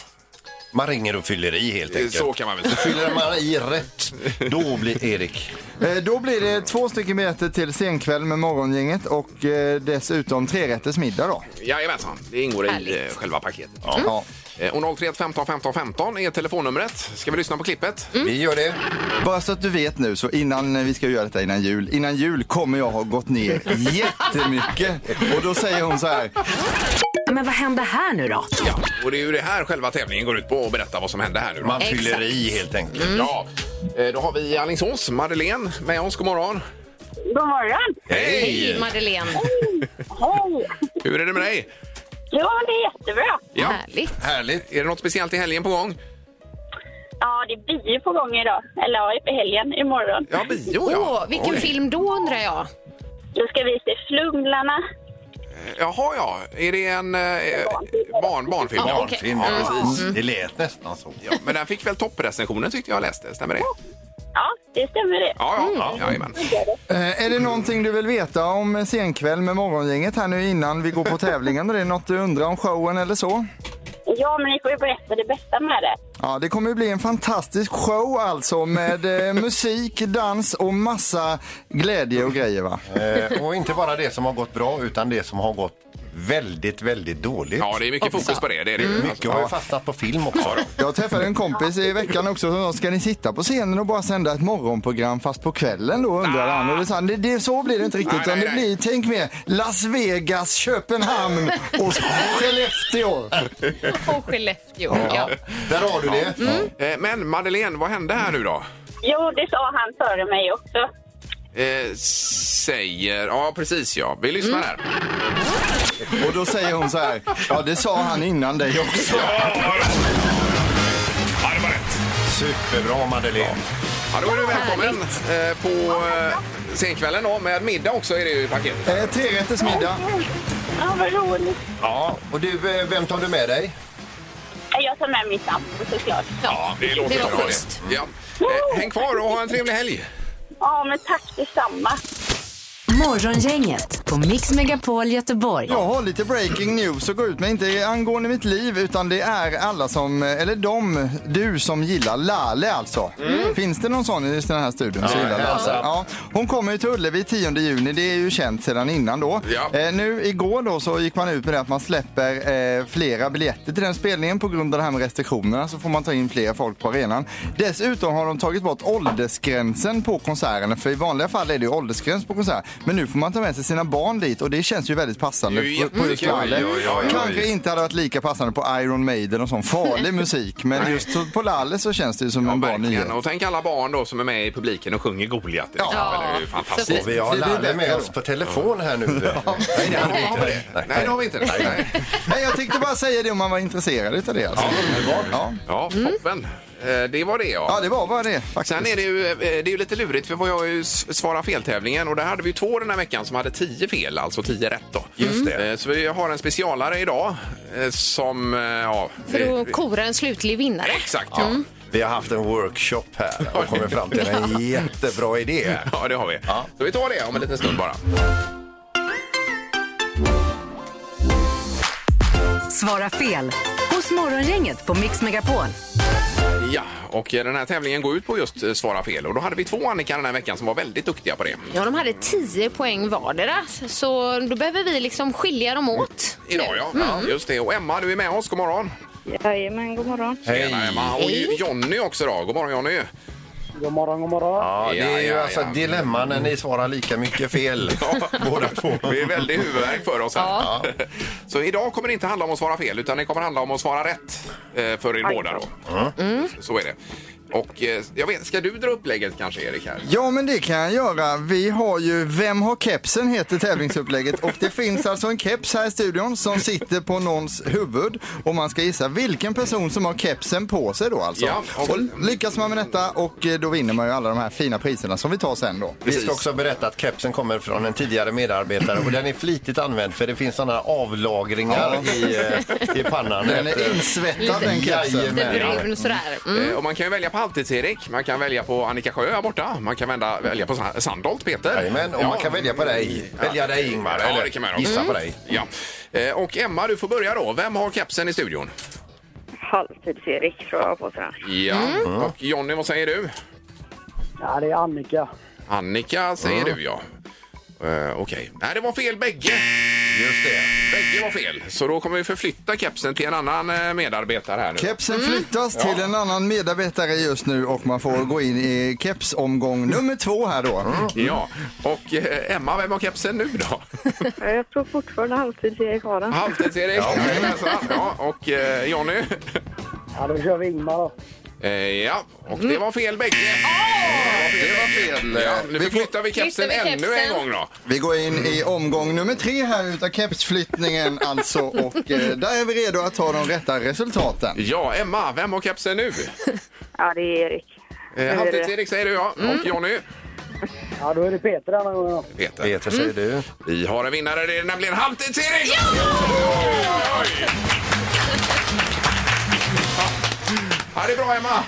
[SPEAKER 9] Man ringer och fyller i helt enkelt.
[SPEAKER 4] så kan man väl säga.
[SPEAKER 9] Fyller man i rätt, då blir Erik...
[SPEAKER 6] Eh, Då blir det två stycken biljetter till scenkväll med Morgongänget och eh, dessutom trerätters middag då.
[SPEAKER 4] Jajamensan, det ingår i eh,
[SPEAKER 3] Härligt.
[SPEAKER 4] själva paketet.
[SPEAKER 6] Ja.
[SPEAKER 4] Eh, Och 031 15 15 15 är telefonnumret. Ska vi lyssna på klippet?
[SPEAKER 5] Mm.
[SPEAKER 3] Mm.
[SPEAKER 9] Vi gör det.
[SPEAKER 6] Bara så att du vet nu, så innan eh, vi ska göra detta innan jul, innan jul kommer jag ha gått ner jättemycket. Och då säger hon så här,
[SPEAKER 2] Men vad händer här nu då?
[SPEAKER 4] Ja, och det är ju det här själva tävlingen går ut på, att berätta vad som hände här nu. då.
[SPEAKER 9] Man
[SPEAKER 3] Exakt.
[SPEAKER 9] fyller i helt enkelt.
[SPEAKER 4] Ja, eh, då har vi Alingsås, Madeleine med oss. God morgon!
[SPEAKER 10] God morgon!
[SPEAKER 3] Hej Madeleine.
[SPEAKER 10] Hej!
[SPEAKER 4] Hur är det med dig?
[SPEAKER 10] Jo, det är jättebra.
[SPEAKER 4] Ja,
[SPEAKER 3] Härligt.
[SPEAKER 4] härligt. Är det något speciellt i helgen på gång?
[SPEAKER 10] Ja, det är bio på gång idag. Eller ja, i helgen, imorgon.
[SPEAKER 4] Ja, bio
[SPEAKER 3] Åh,
[SPEAKER 4] ja.
[SPEAKER 3] vilken
[SPEAKER 4] Oj.
[SPEAKER 3] film då undrar jag?
[SPEAKER 10] Då ska vi se Flumlarna.
[SPEAKER 4] Jaha, ja. Är det en eh, barn, barnfilm?
[SPEAKER 3] Ja,
[SPEAKER 4] Ja,
[SPEAKER 3] okej.
[SPEAKER 9] Barnfilm, ja, precis.
[SPEAKER 3] Mm.
[SPEAKER 9] Det lät nästan så. Ja.
[SPEAKER 4] Men den fick väl topprecensionen tyckte jag läste, stämmer det?
[SPEAKER 10] Ja, det stämmer det.
[SPEAKER 4] Ja, ja,
[SPEAKER 3] Mm.
[SPEAKER 4] ja, jajamän.
[SPEAKER 6] eh, är det någonting du vill veta om eh, scenkväll med Morgongänget här nu innan vi går på tävlingen? Är det något du undrar om showen eller så?
[SPEAKER 10] Ja, men ni får ju berätta det bästa med det.
[SPEAKER 6] Ja, det kommer ju bli en fantastisk show alltså med eh, musik, dans och massa glädje och grejer va?
[SPEAKER 9] Eh, och inte bara det som har gått bra, utan det som har gått väldigt, väldigt dåligt.
[SPEAKER 4] Ja, det är mycket fokus på det. Alltså. det, är det.
[SPEAKER 3] Mm.
[SPEAKER 4] ju.
[SPEAKER 9] Mycket har ju fastnat på film också.
[SPEAKER 6] Jag träffade en kompis i veckan också som sa, ska ni sitta på scenen och bara sända ett morgonprogram fast på kvällen då undrade han. Och det, sa han, det, det, så blir det inte riktigt
[SPEAKER 4] Nej,
[SPEAKER 6] utan
[SPEAKER 4] nej,
[SPEAKER 6] det
[SPEAKER 4] nej.
[SPEAKER 6] blir, tänk mer, Las Vegas, Köpenhamn och Skellefteå.
[SPEAKER 3] Och Skellefteå. Ja.
[SPEAKER 9] Där har du det.
[SPEAKER 4] Eh, Men Madeleine, vad hände här nu då?
[SPEAKER 10] Jo, det sa han före mig också.
[SPEAKER 4] Eh, säger... Ja, precis ja. Vi lyssnar
[SPEAKER 3] Mm.
[SPEAKER 4] här.
[SPEAKER 6] Och då säger hon så här, ja det sa han innan dig också.
[SPEAKER 4] Ja, det var rätt.
[SPEAKER 9] Superbra, Madeleine.
[SPEAKER 4] Ja, då är du välkommen eh, på eh, senkvällen då, med middag också är det ju i paketet.
[SPEAKER 6] Eh, Trerättersmiddag.
[SPEAKER 10] Ja, vad roligt.
[SPEAKER 9] Ja, och du, eh, vem tar du med dig?
[SPEAKER 10] Jag tar med min sambo såklart.
[SPEAKER 4] Ja, det låter
[SPEAKER 3] var
[SPEAKER 4] bra det.
[SPEAKER 3] schysst.
[SPEAKER 4] Ja. Eh, häng kvar och ha en trevlig helg.
[SPEAKER 10] Ja, men tack detsamma.
[SPEAKER 2] Morgongänget på Mix Megapol Göteborg.
[SPEAKER 6] Jag har lite breaking news att gå ut med, inte angående mitt liv utan det är alla som, eller de, du som gillar Lale alltså. Finns det någon sån i just den här studion som gillar Lale? Ja. Hon kommer ju till Ullevi 10 juni, det är ju känt sedan innan då.
[SPEAKER 4] Ja.
[SPEAKER 6] Eh, nu igår då så gick man ut med det att man släpper eh, flera biljetter till den spelningen på grund av det här med restriktionerna så får man ta in fler folk på arenan. Dessutom har de tagit bort åldersgränsen på konserterna för i vanliga fall är det ju åldersgräns på konsert men nu får man ta med sig sina barn dit och det känns ju väldigt passande
[SPEAKER 4] Det är ju
[SPEAKER 6] på just
[SPEAKER 4] jättemycket.
[SPEAKER 6] Lalle.
[SPEAKER 4] Oj, oj, oj, oj.
[SPEAKER 6] Kanske inte hade varit lika passande på Iron Maiden och sån farlig musik, men just på Lalle så känns det ju som en bra nyhet.
[SPEAKER 4] Verkligen. Och tänk alla barn då som är med i publiken och sjunger Goliat. till exempel. Det är ju fantastiskt.
[SPEAKER 3] Så
[SPEAKER 9] Och vi har
[SPEAKER 6] Det blir
[SPEAKER 9] Lalle
[SPEAKER 6] bättre
[SPEAKER 9] med
[SPEAKER 6] då.
[SPEAKER 9] oss på telefon här nu. Nej, det har vi inte.
[SPEAKER 4] Nej, det har vi inte. Nej.
[SPEAKER 6] Nej, jag tänkte bara säga det om man var intresserad utav det. Alltså. Ja.
[SPEAKER 4] Ja,
[SPEAKER 3] Mm.
[SPEAKER 4] toppen. Eh, Det var det
[SPEAKER 6] ja,
[SPEAKER 4] ja.
[SPEAKER 6] det var bara det faktiskt.
[SPEAKER 4] Sen är det ju, eh, det är ju lite lurigt för vi har ju s- Svara fel-tävlingen och där hade vi ju två den här veckan som hade tio fel, alltså tio rätt då. Just
[SPEAKER 9] det.
[SPEAKER 4] Så vi har en specialare idag eh, som, eh, ja...
[SPEAKER 3] För
[SPEAKER 4] eh,
[SPEAKER 3] att Mm. kora en slutlig vinnare.
[SPEAKER 4] Exakt ja.
[SPEAKER 9] Vi har haft en workshop här och kommit fram till en jättebra idé.
[SPEAKER 4] Ja, det har vi. Så vi tar det om en liten stund bara.
[SPEAKER 2] Svara fel hos Morgongänget på Mix Megapol.
[SPEAKER 4] Ja, och eh, den här tävlingen går ut på just eh, svara fel och då hade vi två Annika den här veckan som var väldigt duktiga på det.
[SPEAKER 3] Ja, de hade 10 poäng vardera, så då behöver vi liksom skilja dem åt. Mm.
[SPEAKER 4] Idag ja, Ja, just det. Och Emma, du är med oss. God morgon!
[SPEAKER 10] Jajamän, god morgon.
[SPEAKER 4] Tjena Emma! Och
[SPEAKER 3] Hej.
[SPEAKER 4] Jonny också då. God morgon Jonny!
[SPEAKER 14] God morgon, god morgon.
[SPEAKER 5] Ja, det är ju alltså ett dilemma när ni svarar lika mycket fel. Båda två.
[SPEAKER 4] Det är väldigt huvudvärk för oss här. Så idag kommer det inte handla om att svara fel utan det kommer handla om att svara rätt eh, för er båda då. Så är det. Och eh, jag vet, ska du dra upplägget kanske Erik här?
[SPEAKER 6] Ja, men det kan jag göra. Vi har ju Vem har kepsen? heter tävlingsupplägget och det finns alltså en keps här i studion som sitter på någons huvud och man ska gissa vilken person som har kepsen på sig då alltså.
[SPEAKER 5] Ja, och-
[SPEAKER 6] och lyckas man med detta och eh, då vinner man ju alla de här fina priserna som vi tar sen då.
[SPEAKER 5] Vi ska också berätta att kepsen kommer från en tidigare medarbetare och den är flitigt använd för det finns sådana avlagringar
[SPEAKER 6] Ja.
[SPEAKER 5] i, eh, i pannan.
[SPEAKER 6] Den är
[SPEAKER 5] efter-
[SPEAKER 6] insvettad, den
[SPEAKER 4] kepsen.
[SPEAKER 5] Jajamän.
[SPEAKER 4] Lite
[SPEAKER 3] Brun sådär.
[SPEAKER 4] Eh,
[SPEAKER 3] Mm.
[SPEAKER 4] Och man kan ju välja på Halvtids-Erik, man kan välja på Annika Sjö här borta, man kan vända, välja på Sa- Sandholt Peter.
[SPEAKER 5] Jajamän, och man kan välja på dig. Välja dig, Ingmar,
[SPEAKER 4] Ja,
[SPEAKER 5] eller
[SPEAKER 4] det kan man göra
[SPEAKER 5] gissa
[SPEAKER 4] också.
[SPEAKER 5] på dig.
[SPEAKER 4] Ja. Eh, Och Emma, du får börja då. Vem har kepsen i studion?
[SPEAKER 15] Halvtids-Erik tror jag på sig.
[SPEAKER 4] Ja.
[SPEAKER 5] Mm.
[SPEAKER 4] Och Jonny, vad säger du?
[SPEAKER 14] Ja, det är Annika.
[SPEAKER 4] Annika säger
[SPEAKER 5] Mm.
[SPEAKER 4] du ja. Eh, Okej. Nej, det var fel bägge. Just det. Bägge var fel. Så då kommer vi förflytta kepsen till en annan eh, medarbetare här nu.
[SPEAKER 6] Kepsen flyttas
[SPEAKER 4] Ja.
[SPEAKER 6] till en annan medarbetare just nu och man får gå in i kepsomgång nummer två här då.
[SPEAKER 4] Mm. Ja. Och eh, Emma, vem har kepsen nu då?
[SPEAKER 15] Jag tror fortfarande halvtids-Erik har den.
[SPEAKER 4] Halvtids-Erik. Ja, jajamensan. ja, och eh, Jonny?
[SPEAKER 14] Ja, då kör vi Ingmar då.
[SPEAKER 4] Eh, ja, och det var fel bägge. Mm. Det var fel. Ja, nu förflyttar vi kepsen
[SPEAKER 6] Flyttar vi
[SPEAKER 4] ännu en
[SPEAKER 6] kepsen.
[SPEAKER 4] gång då.
[SPEAKER 6] Vi går in i omgång nummer tre här utav kepsflyttningen alltså och eh, där är vi redo att ta de rätta resultaten.
[SPEAKER 4] Ja, Emma, vem har kepsen nu?
[SPEAKER 15] Ja, det är Erik. Nu är
[SPEAKER 4] Eh,
[SPEAKER 15] det. Mm.
[SPEAKER 4] Halvtids-Erik säger du ja, och Jonny?
[SPEAKER 14] Ja, då är det Peter den här gången.
[SPEAKER 4] Peter.
[SPEAKER 5] Peter säger du.
[SPEAKER 4] Vi har en vinnare, det är nämligen Halvtids-Erik! Oj! Ja, det är bra Emma!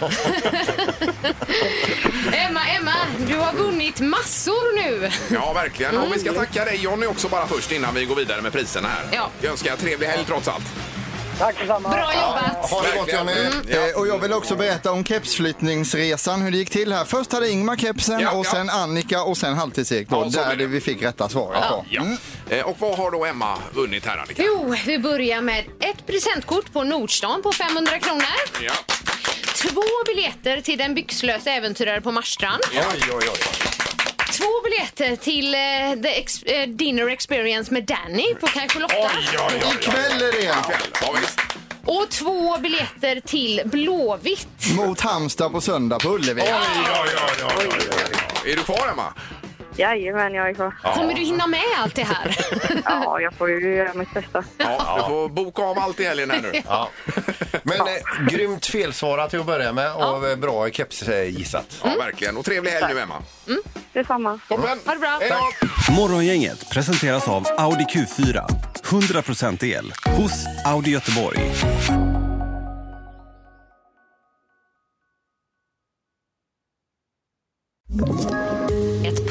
[SPEAKER 3] Emma, Emma, du har vunnit massor nu.
[SPEAKER 4] Ja, verkligen. Och vi ska tacka dig Jonny också bara först innan vi går vidare med priserna här.
[SPEAKER 3] Mm. Ja.
[SPEAKER 4] Jag önskar en trevlig helg trots allt.
[SPEAKER 14] Tack detsamma.
[SPEAKER 3] Bra jobbat.
[SPEAKER 5] Ha det gott Johnny!
[SPEAKER 6] Eh, Och jag vill också berätta om kepsflyttningsresan, hur det gick till här. Först hade Ingmar kepsen
[SPEAKER 4] Ja,
[SPEAKER 6] och
[SPEAKER 4] ja.
[SPEAKER 6] sen Annika och sen halvtids-Erik då,
[SPEAKER 4] Ja, så
[SPEAKER 6] där
[SPEAKER 4] blir det.
[SPEAKER 6] vi fick rätta svaret Mm.
[SPEAKER 4] Ja.
[SPEAKER 6] på.
[SPEAKER 4] Ja.
[SPEAKER 5] Mm.
[SPEAKER 4] Eh, Och vad har då Emma vunnit här Annika?
[SPEAKER 3] Jo, vi börjar med ett presentkort på Nordstan på 500 kronor.
[SPEAKER 4] Ja.
[SPEAKER 3] Två biljetter till Den byxlösa äventyrare på Marstrand.
[SPEAKER 5] Oj, oj, oj.
[SPEAKER 3] Två biljetter till eh, the ex- eh, Dinner Experience med Danny på Kanske Lotta.
[SPEAKER 6] Ikväll är det!
[SPEAKER 3] Och två biljetter till Blåvitt.
[SPEAKER 6] Mot Halmstad på söndag på Ullevi.
[SPEAKER 4] Är du kvar Emma?
[SPEAKER 15] Jajamän, jag är kvar.
[SPEAKER 3] Kommer du hinna med allt det här?
[SPEAKER 15] Ja, jag får ju göra mitt bästa.
[SPEAKER 4] Ja, du får boka av allt i helgen här nu.
[SPEAKER 5] Ja. Men eh, grymt felsvarat till att börja med och eh, bra kepsgissat.
[SPEAKER 4] Ja, verkligen. Och trevlig helg nu Emma.
[SPEAKER 15] Detsamma.
[SPEAKER 4] Toppen.
[SPEAKER 3] Mm. Ha det bra.
[SPEAKER 16] Morgongänget presenteras av Audi Q4. 100% el hos Audi Göteborg.
[SPEAKER 2] Ett